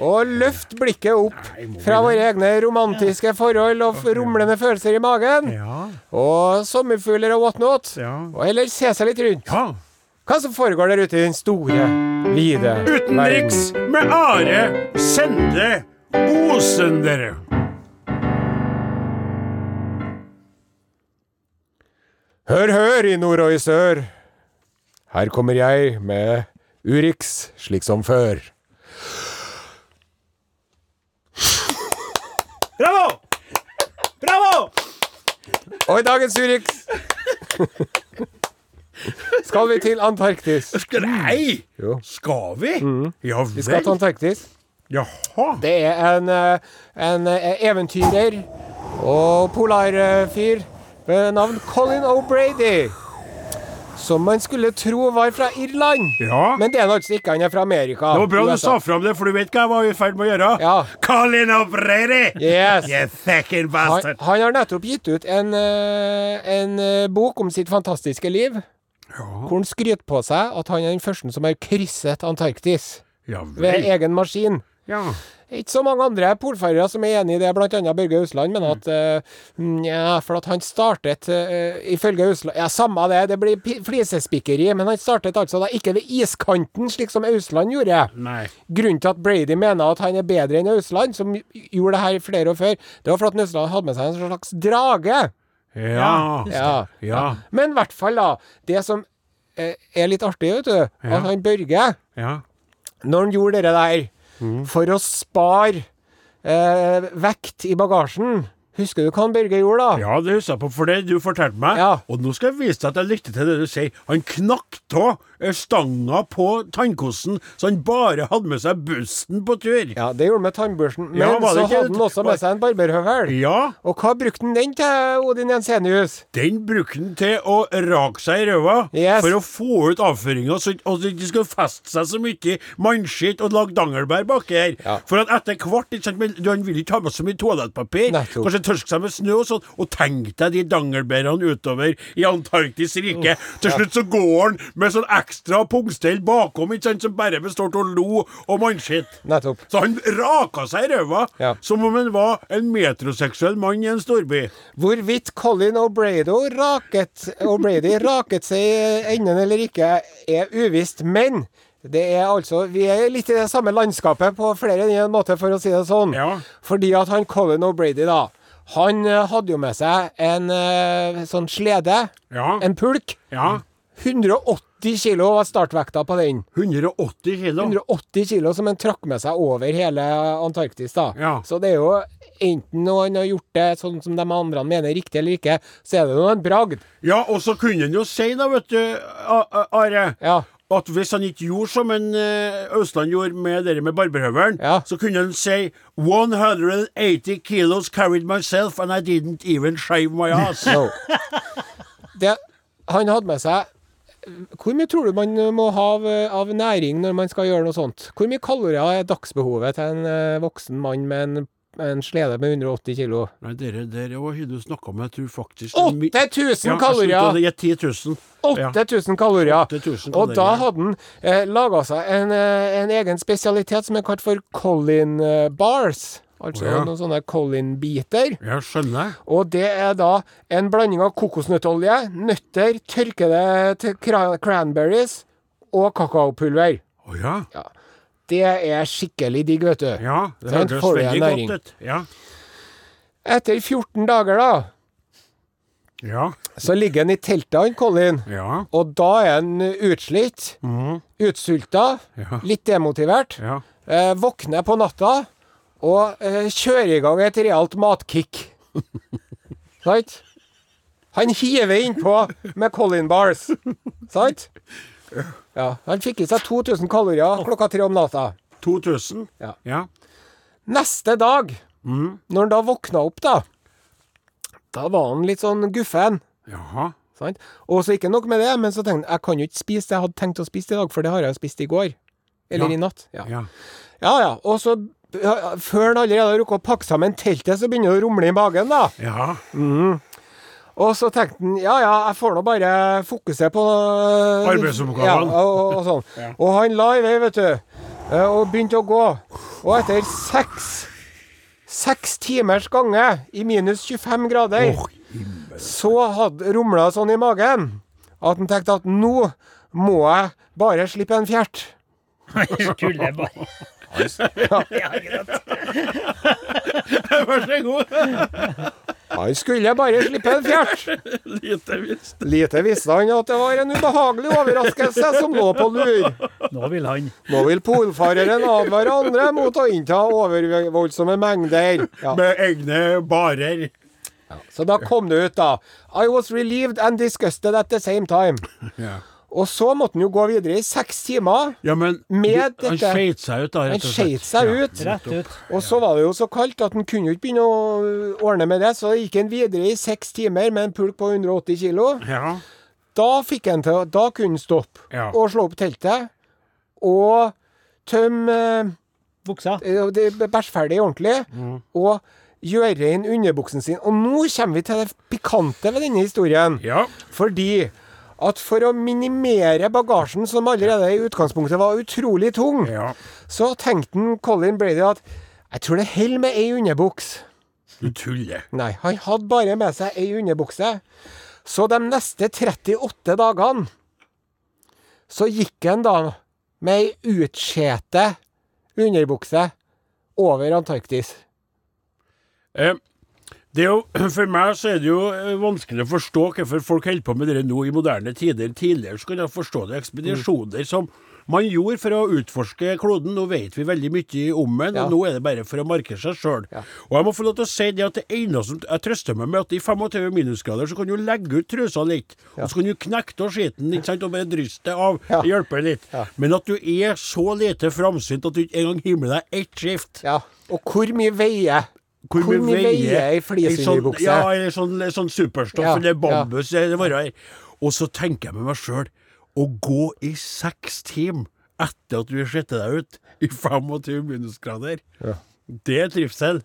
S4: å løfte blikket opp fra våre egne romantiske forhold og f- rumlende følelser i magen,
S3: Ja.
S4: og sommerfugler og whatnot,
S3: Ja.
S4: og heller se seg litt rundt.
S3: ja.
S4: Hva som foregår der ute i den store, vide
S3: Utenriks med Are Sende Osen, dere.
S4: Hør, hør, i nord og i sør. Her kommer jeg med Urix, slik som før.
S5: Bravo! Bravo!
S4: Og i dagens Urix
S5: [LAUGHS]
S4: skal vi til Antarktis.
S3: Skal- Nei!
S4: Mm. Jo. Mm.
S3: Skal vi? Ja
S4: Vi skal til
S3: vel.
S4: Antarktis.
S3: Jaha.
S4: Det er en, eh, en eh, eventyrer og polarfyr ved navn Colin O'Brady. Som man skulle tro var fra Irland.
S3: Ja.
S4: Men det er han altså ikke. Han er fra Amerika.
S3: Det var bra du
S4: USA.
S3: sa fram det, for du vet hva jeg var i ferd med å gjøre?
S4: Ja.
S3: Colin O'Brady!
S4: Yes.
S3: You fucking
S4: Han,
S3: bastard!
S4: han har nettopp gitt ut en, eh, en eh, bok om sitt fantastiske liv. Hvor han skryter på seg at han er den første som har krysset Antarktis
S3: Ja
S4: ved
S3: vel.
S4: egen maskin.
S3: Ja.
S4: Ikke så mange andre polfarere som er enig i det, blant annet Børge Ausland, men at eh, Nja, for at han startet uh, Ifølge Ausland Ja, samme det, det blir pi- flisespikkeri, men han startet altså da ikke ved iskanten, slik som Ausland gjorde.
S3: Nei.
S4: Grunnen til at Brady mener at han er bedre enn Ausland, som gjorde det her flere år før, det var for at Ausland hadde med seg en slags drage.
S3: Ja.
S4: Ja.
S3: Ja.
S4: Men i hvert fall, da. Det som eh, er litt artig, vet du, at han Børge,
S3: Ja.
S4: når han gjorde det der,
S3: Mm.
S4: for å spare eh, vekt i bagasjen Husker du hva han Børge gjorde da?
S3: Ja, det husker jeg på, for det du fortalte meg.
S4: Ja.
S3: Og nå skal jeg vise deg at jeg lytter til det du sier. Han knakk av eh, stanga på tannkosten, så han bare hadde med seg busten på tur.
S4: Ja, det gjorde han med tannbørsten. Men
S3: Ja, var
S4: så
S3: det ikke-
S4: hadde han også med seg en barberhøvel.
S3: Ja,
S4: Og hva brukte han den til, Odin Jensenius?
S3: den brukte han til å rake seg i ræva
S4: Yes.
S3: for å få ut avføringa, så og så ikke skulle feste seg så mye i mannskitt og lage dangelbær baki her.
S4: Ja.
S3: For at etter hvert ikke sant, men du, Han vil ikke ha med så mye toalettpapir.
S4: Nettopp.
S3: Kanskje tørke seg med snø og sånn. Og tenk deg de dangelbærene utover i Antarktis rike. Til slutt så går han med sånn ekstra pungstell bakom, ikke sant, som bare består av lo og mannskitt.
S4: Nettopp.
S3: Så han raka seg i ræva
S4: Ja.
S3: som om han var en metroseksuell mann i en storby.
S4: Hvorvidt Colin O'Brady raket, O'Brady raket seg i enden eller ikke, er uvisst. Men det er altså, vi er litt i det samme landskapet på flere enn en måte, for å si det sånn.
S3: Ja.
S4: Fordi at han Colin O'Brady, da, han eh, hadde jo med seg en eh, sånn slede,
S3: Ja.
S4: en pulk.
S3: Ja.
S4: 180 kilo var startvekta på den.
S3: 180 kilo.
S4: 180 kilo som han trakk med seg over hele Antarktis. da.
S3: Ja.
S4: Så det er jo enten noe han har gjort det sånn som de andre mener riktig eller ikke, så er det nå en bragd.
S3: Ja, og så kunne han jo si da, vet du, A- A- Are,
S4: Ja.
S3: at hvis han ikke gjorde som en eh, Østland gjorde med det med barberhøvelen,
S4: Ja.
S3: så kunne han si 180 kilos carried myself and I didn't even shave my ass.
S4: [LAUGHS] No. Det, han hadde med seg Hvor mye tror du man må ha av, av næring når man skal gjøre noe sånt? Hvor mye kalorier er dagsbehovet til en eh, voksen mann med en, en slede med 180 kilo?
S3: Nei, dere, dere var hyggelig å snakke om, jeg tror faktisk
S4: 8000 kalorier!
S3: Ja, jeg skjønte det, jeg 10 000. Ja.
S4: 8000 kalorier.
S3: 8000
S4: Og da
S3: kalorier.
S4: hadde han eh, laga seg en, eh, en egen spesialitet som er kalt for Colin eh, bars. Altså
S3: Å, ja.
S4: noen sånne Colin-biter.
S3: Jeg skjønner.
S4: Og det er da en blanding av kokosnøttolje, nøtter, tørkede til cra- cranberries og kakaopulver.
S3: Å ja.
S4: Det er skikkelig digg, vet du.
S3: Ja, det
S4: Den
S3: hørtes
S4: får du
S3: veldig
S4: en næring.
S3: godt ut. Ja.
S4: Etter 14 dager, da,
S3: Ja.
S4: så ligger han i teltet, han Colin.
S3: Ja.
S4: Og da er han utslitt, utsulta,
S3: Mm. Ja.
S4: litt demotivert.
S3: Ja.
S4: Eh, våkner på natta og eh, kjører i gang et realt matkick. Sant? Han hiver innpå med Colin Bars. Sant? Ja. Han fikk i seg 2000 kalorier klokka tre om natta.
S3: 2000.
S4: Ja.
S3: Ja.
S4: Neste dag, når han da våkna opp, da, da var han litt sånn guffen.
S3: Jaha.
S4: Sant? Og så ikke nok med det, men så tenkte han jeg kan jo ikke spise det jeg hadde tenkt å spise i dag, for det har jeg jo spist i går.
S3: Ja.
S4: Eller i natt. Ja.
S3: Ja.
S4: Ja, ja. Og så, ja, før han allerede har rukket å pakke sammen teltet, så begynner det å rumle i magen, da.
S3: Ja.
S4: Og så tenkte han ja ja, jeg får nå bare fokusere på øh,
S3: Arbeidsoppgavene.
S4: Ja, og, og, og sånn. Og han la i vei, vet du. eh, Og begynte å gå. Og etter seks Seks timers gange i minus 25 grader, så hadde rumla sånn i magen at han tenkte at nå må jeg bare slippe en fjert.
S5: Skulle bare
S6: [LAUGHS]
S5: Ja, greit.
S3: [LAUGHS] Vær så god.
S4: Han skulle bare slippe en fjert.
S3: Lite visst.
S4: Lite visste han at det var en ubehagelig overraskelse som lå på lur.
S5: Nå vil han
S4: Nå vil polfareren advare andre mot å innta overvoldsomme mengder. Ja.
S3: Med egne barer.
S4: Så da kom det ut, da. I was relieved and disgusted at the same time.
S3: Ja.
S4: Og så måtte han jo gå videre i seks timer.
S3: Ja, men
S4: Med
S3: du- han
S4: dette-
S3: skeit seg ut, da. rett
S4: Han
S3: og slett.
S4: skeit seg
S3: Ja.
S4: ut.
S5: rett ut.
S4: Og så var det jo så kaldt at han kunne jo ikke begynne å ordne med det, så gikk han videre i seks timer med en pulk på 180 kilo.
S3: Ja.
S4: Da fikk han til, da kunne han stoppe
S3: Ja.
S4: og slå opp teltet og tømme eh,
S6: Buksa.
S4: eh, det er bæsjferdig ordentlig,
S3: Mm.
S4: og gjøre inn underbuksen sin. Og nå kommer vi til det pikante ved denne historien.
S3: ja.
S4: Fordi at for å minimere bagasjen, som allerede i utgangspunktet var utrolig tung,
S3: Ja.
S4: så tenkte han Colin Brady at jeg tror det holder med ei underbuks.
S3: Du tuller.
S4: Nei, han hadde bare med seg ei underbukse. Så de neste 38 dagene så gikk han da med ei utskjete underbukse over Antarktis.
S3: Eh, det er jo, [CLEARS THROAT] for meg så er det jo eh, vanskelig å forstå hvorfor folk holder på med det nå i moderne tider. Tidligere så kunne jeg forstå det. Ekspedisjoner
S4: Mm.
S3: som man gjorde for å utforske kloden. Nå vet vi veldig mye om den,
S4: Ja.
S3: og nå er det bare for å markere seg sjøl. Og jeg må få lov til å si det at det eneste som jeg trøster meg med, at i 25 minusgrader så kan du legge ut trusa litt, og så kan du knekke av skitten ikke sant, og bare drysse det av.
S4: Ja.
S3: Det hjelper litt. Men at du er så lite framsynt at du ikke engang himler deg ett skift.
S4: Ja. Og hvor mye veier Hvor mye veier ei flisunderbukse?
S3: Ja, eller sånn, sånn superstoff
S4: Ja,
S3: eller bambus. eller hva det er. Og så tenker jeg med meg sjøl å gå i seks timer etter at du har sett deg ut i 25 minusgrader, det er trivsel.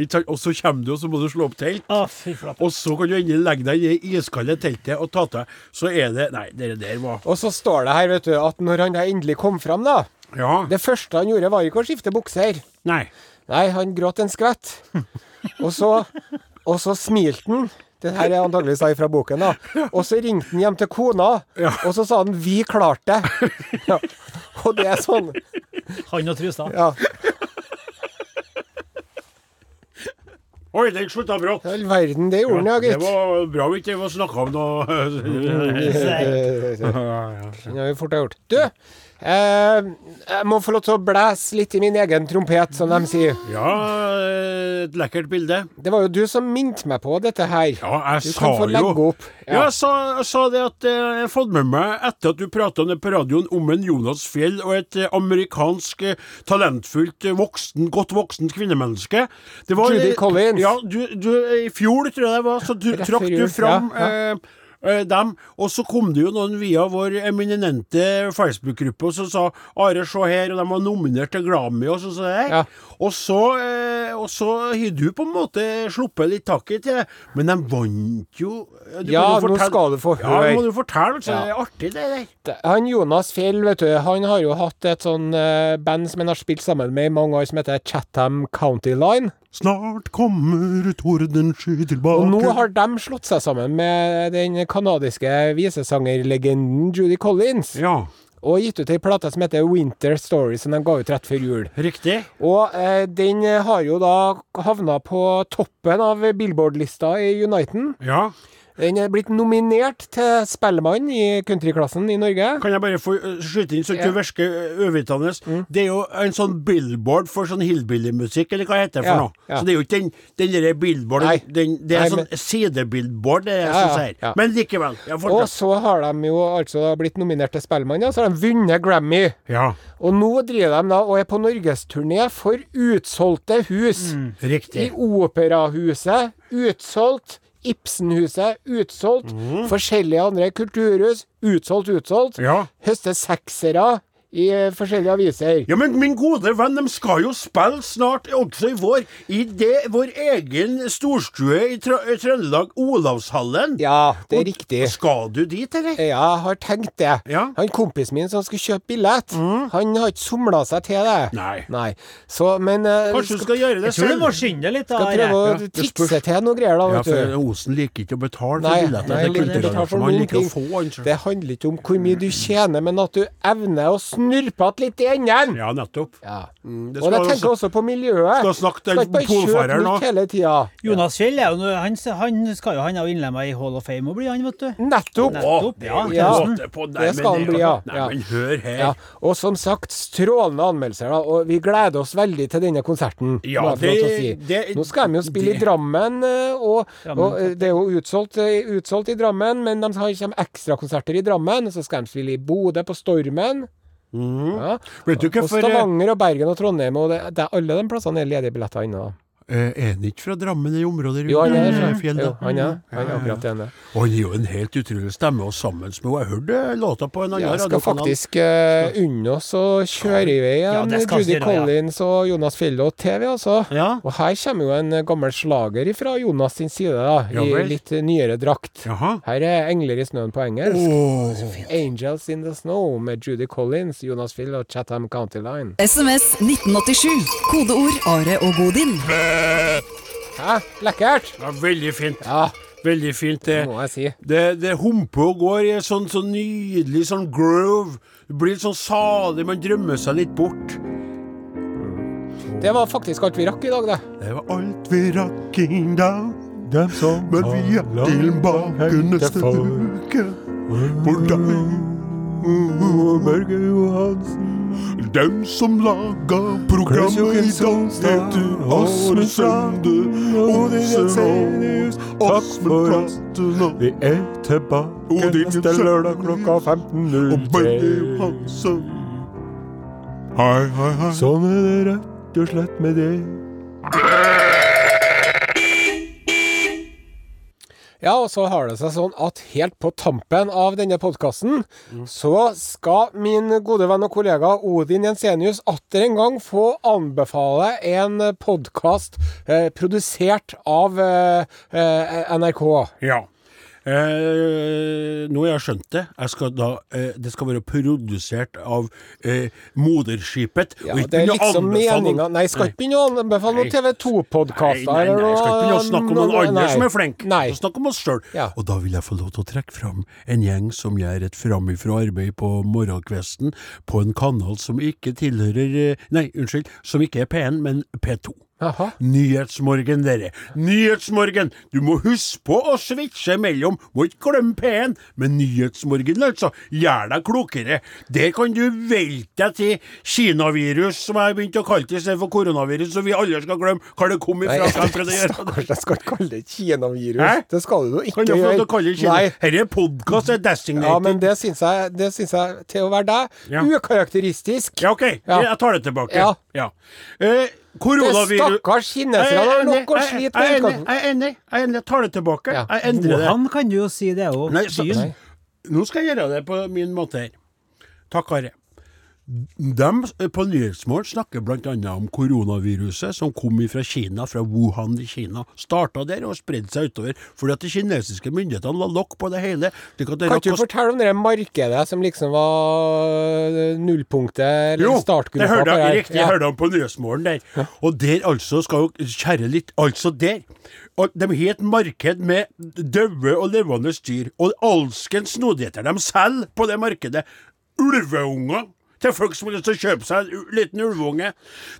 S3: Ikke sant? Og så kommer du, og så må du slå opp telt.
S5: Å, fy flate.
S3: Og så kan du endelig legge deg i det iskalde teltet og ta til Så er det Nei, det der var
S4: Og så står det her, vet du, at når han da endelig kom fram, da
S3: Ja.
S4: Det første han gjorde, var ikke å skifte bukser.
S3: Nei.
S4: Nei, han gråt en skvett. Og så, og så smilte han. Det her er antageligvis da fra boken, da. Og så ringte han hjem til kona, og så sa han 'vi klarte det'. Ja. Og det er sånn.
S5: Han og trusa.
S4: Ja.
S3: Oi, den slutta brått.
S4: All verden, det gjorde han, ja,
S3: Det
S4: gitt. Mm,
S3: var bra vi ikke snakka om noe
S4: Den har vi fort gjort. Du, eh, jeg må få lov til å blæse litt i min egen trompet, som de sier.
S3: Ja, eh, et lekkert bilde.
S4: Det var jo du som minte meg på dette her.
S3: Ja, jeg
S4: Du
S3: sa
S4: kan få legge
S3: jo
S4: opp.
S3: Ja, jeg sa, jeg sa det at eh, jeg har fått med meg etter at du prata om det på radioen om en Jonas Fjell og et eh, amerikansk eh, talentfullt, eh, voksen, godt voksen kvinnemenneske. Det var,
S4: Judy
S3: eh,
S4: Collins.
S3: Ja, du, du, eh, I fjor, tror jeg det var, så du,
S4: Rett
S3: trakk
S4: før
S3: du
S4: jul,
S3: fram
S4: ja,
S3: eh, eh, dem, og så kom det jo noen via vår eminente Facebook-gruppe og så sa Are, se her, og de var nominert til Grammy og sånn som det der.
S4: Ja.
S3: Og så, eh, og så har du på en måte sluppet litt taket til det, men de vant jo Du
S4: Ja,
S3: kan jo
S4: nå
S3: fortelle-
S4: skal du få
S3: Ja,
S4: høre.
S3: nå må du fortelle, så
S4: Ja.
S3: det er artig det der.
S4: Det- Han Jonas Fjell, vet du, han har jo hatt et sånn eh, band som han har spilt sammen med i mange år, som heter Chatham County Line.
S3: Snart kommer tordensky tilbake
S4: Og nå har de slått seg sammen med den kanadiske visesangerlegenden Judy Collins,
S3: Ja,
S4: og gitt ut ei plate som heter Winter Story, som de ga ut rett før jul.
S3: riktig.
S4: Og eh, den har jo da havna på toppen av Billboard-lista i Uniten.
S3: Ja.
S4: Den er blitt nominert til Spellemann i countryklassen i Norge.
S3: Kan jeg bare få eh, skyte inn, så ikke
S4: Ja. Mm.
S3: du virker eh, uvitende? Det er jo en sånn billboard for sånn hillbillymusikk, eller hva heter det for
S4: Ja,
S3: noe?
S4: ja.
S3: Så det er jo ikke den, den derre
S4: Nei.
S3: billboarden den, Det er
S4: Nei,
S3: sånn
S4: men-
S3: sidebillboard, det er det
S4: Ja,
S3: som
S4: ja,
S3: sier.
S4: ja.
S3: Men likevel. Ja,
S4: Og
S3: fortsatt.
S4: så har de jo altså blitt nominert til Spellemann, ja, så har de vunnet Grammy.
S3: Ja,
S4: Og nå driver de da og er på norgesturné for utsolgte hus. I
S3: riktig.
S4: Operahuset utsolgt, Ibsenhuset utsolgt, forskjellige andre kulturhus utsolgt, utsolgt.
S3: Mm. Ja.
S4: Høste seksere i eh, forskjellige aviser.
S3: Ja, men min gode venn, de skal jo spille snart, også i vår, i det, vår egen storstue i Trø- i Trøndelag, Olavshallen.
S4: Ja, det
S3: Og
S4: er riktig.
S3: Skal du dit, eller?
S4: Ja, jeg har tenkt det.
S3: Ja. Mm.
S4: Han kompisen min som skulle kjøpe billett, han har ikke somla seg til det.
S3: Nei.
S4: Så, men eh,
S3: Kanskje du skal gjøre det
S6: Jeg tror du
S3: selv?
S6: må skynde deg litt. da,
S4: skal prøve
S6: Are.
S4: å
S3: Ja, det
S4: fikse
S3: spørs.
S4: til noen greier, da,
S3: Ja,
S4: vet
S3: for
S4: du.
S3: Osen liker ikke å betale
S4: Nei,
S3: for
S4: nei,
S3: billetter.
S4: han
S3: Det er
S4: liker ikke å betale
S3: kulturarrangement, han
S4: for noen
S3: liker å
S4: ting.
S3: få, han. så-
S4: Det handler ikke om hvor mye du tjener, men at du evner å snurpe igjen litt i enden.
S3: Ja, nettopp.
S4: Ja.
S3: det skal
S4: og jeg tenker
S3: også-
S4: også på miljøet.
S3: Skal snakke til
S4: ikke bare
S3: polfareren
S4: kjøpe
S3: nå.
S4: nytt hele tida.
S6: Jonas Fjell er jo nå- han, han skal jo han er jo innlemma i Hall of Fame og blir han, vet du.
S4: Nettopp.
S6: Nettopp,
S3: det
S6: ja.
S3: er jo
S4: Ja.
S3: ikke måte på. Nei,
S4: Det skal
S3: men
S4: han bli, ja.
S3: Nei,
S4: Ja.
S3: men hør her.
S4: Ja, og som sagt, strålende anmeldelser, da. Og vi gleder oss veldig til denne konserten.
S3: Ja,
S4: må jeg få lov til å
S3: det-
S4: si.
S3: det-
S4: Nå skal de jo spille
S3: det-
S4: i Drammen, eh, og,
S6: Drammen,
S4: og eh, det er jo utsolgt, eh, utsolgt i Drammen, men de har kommer ekstrakonserter i Drammen. Og så skal de spille i Bodø, på Stormen. Ja.
S3: Vet Mhm. du eh,
S4: Og
S3: hvorfor
S4: Stavanger og Bergen og Trondheim, og det, det er alle de plassene er ledige billetter ennå. da.
S3: eh, Er han ikke fra Drammen i området rundt
S4: Jo, han er
S3: eh,
S4: derfra.
S3: fjellet?
S4: Jo, han er, han er akkurat det. han er.
S3: Og han er jo en helt utrolig stemme, og sammen med henne. Jeg hørte låta på en annen
S4: Jeg skal
S3: radiokanal.
S4: faktisk eh, unne oss å kjøre i vei
S6: Ja,
S4: en
S6: det skal
S4: Judy
S6: vi gjøre, ja.
S4: Collins og Jonas Fjellå TV, altså.
S3: Ja.
S4: Og her kommer jo en eh, gammel slager fra Jonas sin side, da,
S3: Ja
S4: i
S3: vel.
S4: litt nyere drakt.
S3: Jaha.
S4: Her er 'Engler i snøen' på engelsk.
S3: Åh.
S4: 'Angels in the Snow' med Judy Collins, Jonas Fjell og Chatham County Line.
S7: SMS 1987. Kodeord Are og Odin.
S4: Hæ? Lekkert?
S3: Ja, veldig fint.
S4: Ja,
S3: Veldig fint.
S4: det
S3: Det,
S4: må jeg si.
S3: det, det humper og går i en sånn, sånn nydelig sånn groove. Det blir litt sånn salig, man drømmer seg litt bort.
S4: Det var faktisk alt vi rakk i dag, det.
S3: Det var alt vi rakk i dag, men vi er
S2: har
S3: tilbake
S2: langt
S3: neste
S2: for.
S3: uke. For deg,
S2: Børge Johansen,
S3: dem som laga
S2: Klaus
S3: programmet i
S2: Johansson,
S3: dag, heter Åsmund Sande,
S2: Odin
S3: Åse
S2: Jensenius. Takk
S3: Åsmund
S2: for oss.
S3: Bratten og
S2: Vi er tilbake
S3: Odin
S2: neste lørdag
S3: Jensenius.
S2: klokka
S3: og Børge
S2: 15.03.
S3: Johansen. Hei, hei, hei.
S2: Sånn er det rett og slett med det.
S4: Ja, og så har det seg sånn at helt på tampen av denne podkasten,
S3: Mm.
S4: så skal min gode venn og kollega Odin Jensenius atter en gang få anbefale en podkast eh, produsert av eh, eh, NRK.
S3: Ja. Eh, nå har jeg skjønt det. Jeg skal da, eh, det skal være produsert av eh, moderskipet.
S4: Ja,
S3: og ikke
S4: det er
S3: begynne å
S4: liksom
S3: anbefale noen-
S4: meninga Nei, skal ikke begynne å anbefale noen
S3: Nei.
S4: TV
S3: Nei,
S4: 2-podkaster.
S3: nei, nei, jeg skal ikke begynne å snakke om noen andre som er flinke.
S4: Nei.
S3: Snakk om oss sjøl.
S4: Ja.
S3: Og da vil jeg få lov til å trekke fram en gjeng som gjør et framifrå arbeid på morgenkvesten på en kanal som ikke tilhører eh, Nei, unnskyld, som ikke er P1, men P2.
S4: Jaha.
S3: Nyhetsmorgen, dere. Nyhetsmorgen! Du må huske på å switche mellom. Må ikke glemme P1, men Nyhetsmorgen, altså. Gjør deg klokere. Der kan du velte deg til kinavirus, som jeg har begynt å kalle det istedenfor koronavirus, så vi alle skal glemme hvor det kom ifra. hva
S4: [LAUGHS]
S3: jeg prøvde å gjøre.
S4: Stakkars, jeg skal ikke kalle det kinavirus.
S3: Hæ?
S4: Det skal du jo ikke
S3: Kan du få lov til å kalle det kino?
S4: Nei.
S3: Herre podkast er designated.
S4: Ja, men det syns jeg, det syns jeg til å være deg,
S3: Ja.
S4: ukarakteristisk.
S3: Ja, OK,
S4: Ja.
S3: jeg tar det tilbake.
S4: Ja.
S3: Eh, koronavirus
S4: Stakkars kinesere,
S3: Jeg er
S4: det er
S3: enig,
S4: nok å
S3: jeg-
S4: slite
S3: jeg er
S4: med.
S3: enig,
S4: utgangspunkt.
S3: Jeg er enig. Jeg er enig. Jeg tar det tilbake.
S4: Ja.
S3: Jeg endrer det.
S6: Han kan du jo si, det er jo
S3: Nei, så,
S6: byen.
S3: Nå skal jeg gjøre det på min måte her. Takk, Are. De på Nyhetsmorgen snakker bl.a. om koronaviruset som kom fra Kina, fra Wuhan i Kina. Starta der og spredde seg utover, fordi at de kinesiske myndighetene la lokk på det hele. slik at det
S4: Kan
S3: rakk
S4: ikke
S3: å
S4: du fortelle om det markedet som liksom var øh, nullpunktet, eller
S3: Jo,
S4: startgruppa?
S3: det hørte
S4: på
S3: jeg
S4: her?
S3: riktig. Jeg hørte han på Nyhetsmorgen der. Og der altså skal jo kjære litt Altså der. Og de har et marked med døde og levende dyr, og alskens snodigheter de selger på det markedet. Ulveunger til folk som har lyst til å kjøpe seg en u- liten ulveunge.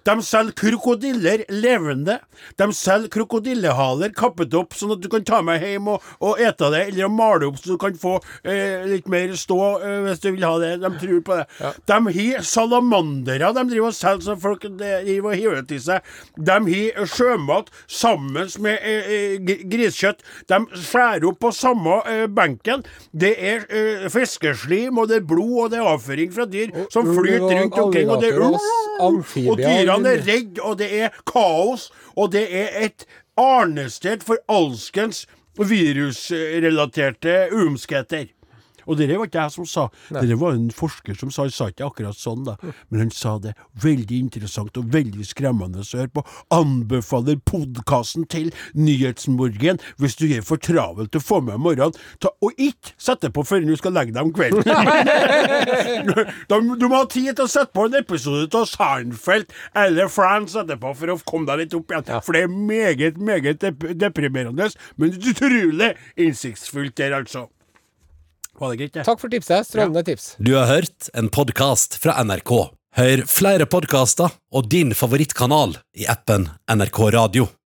S3: De selger krokodiller levende. De selger krokodillehaler kappet opp, sånn at du kan ta med hjem og, og ete det, eller å male opp så du kan få eh, litt mer stå eh, hvis du vil ha det. De tror på det. De har salamandere de driver og selger som folk driver og hiver til seg. De har sjømat sammen med eh, eh, gr- griskjøtt. De skjærer opp på samme eh, benken. Det er eh, fiskeslim, og det er blod, og det er avføring fra dyr som
S4: ulv
S3: flyter
S4: og
S3: rundt omkring. Og det er
S4: alligatorer,
S3: ulv,
S4: amfibier,
S3: og dyrene
S4: ulv.
S3: er redde, og det er kaos, og det er et arnested for alskens virusrelaterte umskheter. Og det var ikke jeg som sa, det var en forsker som sa, han sa ikke akkurat sånn da, men han sa det veldig interessant og veldig skremmende å høre på. Anbefaler podkasten til Nyhetsmorgen hvis du er for travel til å få med om morgenen, ta, og ikke sette på før du skal legge deg om kvelden. Da må- du må ha tid til å sette på en episode av Seinfeld eller Friends etterpå for å komme deg litt opp igjen, for det er meget, meget dep deprimerende, men utrolig innsiktsfullt der, altså. Var det greit, det?
S4: Takk for tipset. Strålende tips.
S1: Du har hørt en podkast fra NRK. Hør flere podkaster og din favorittkanal i appen NRK Radio.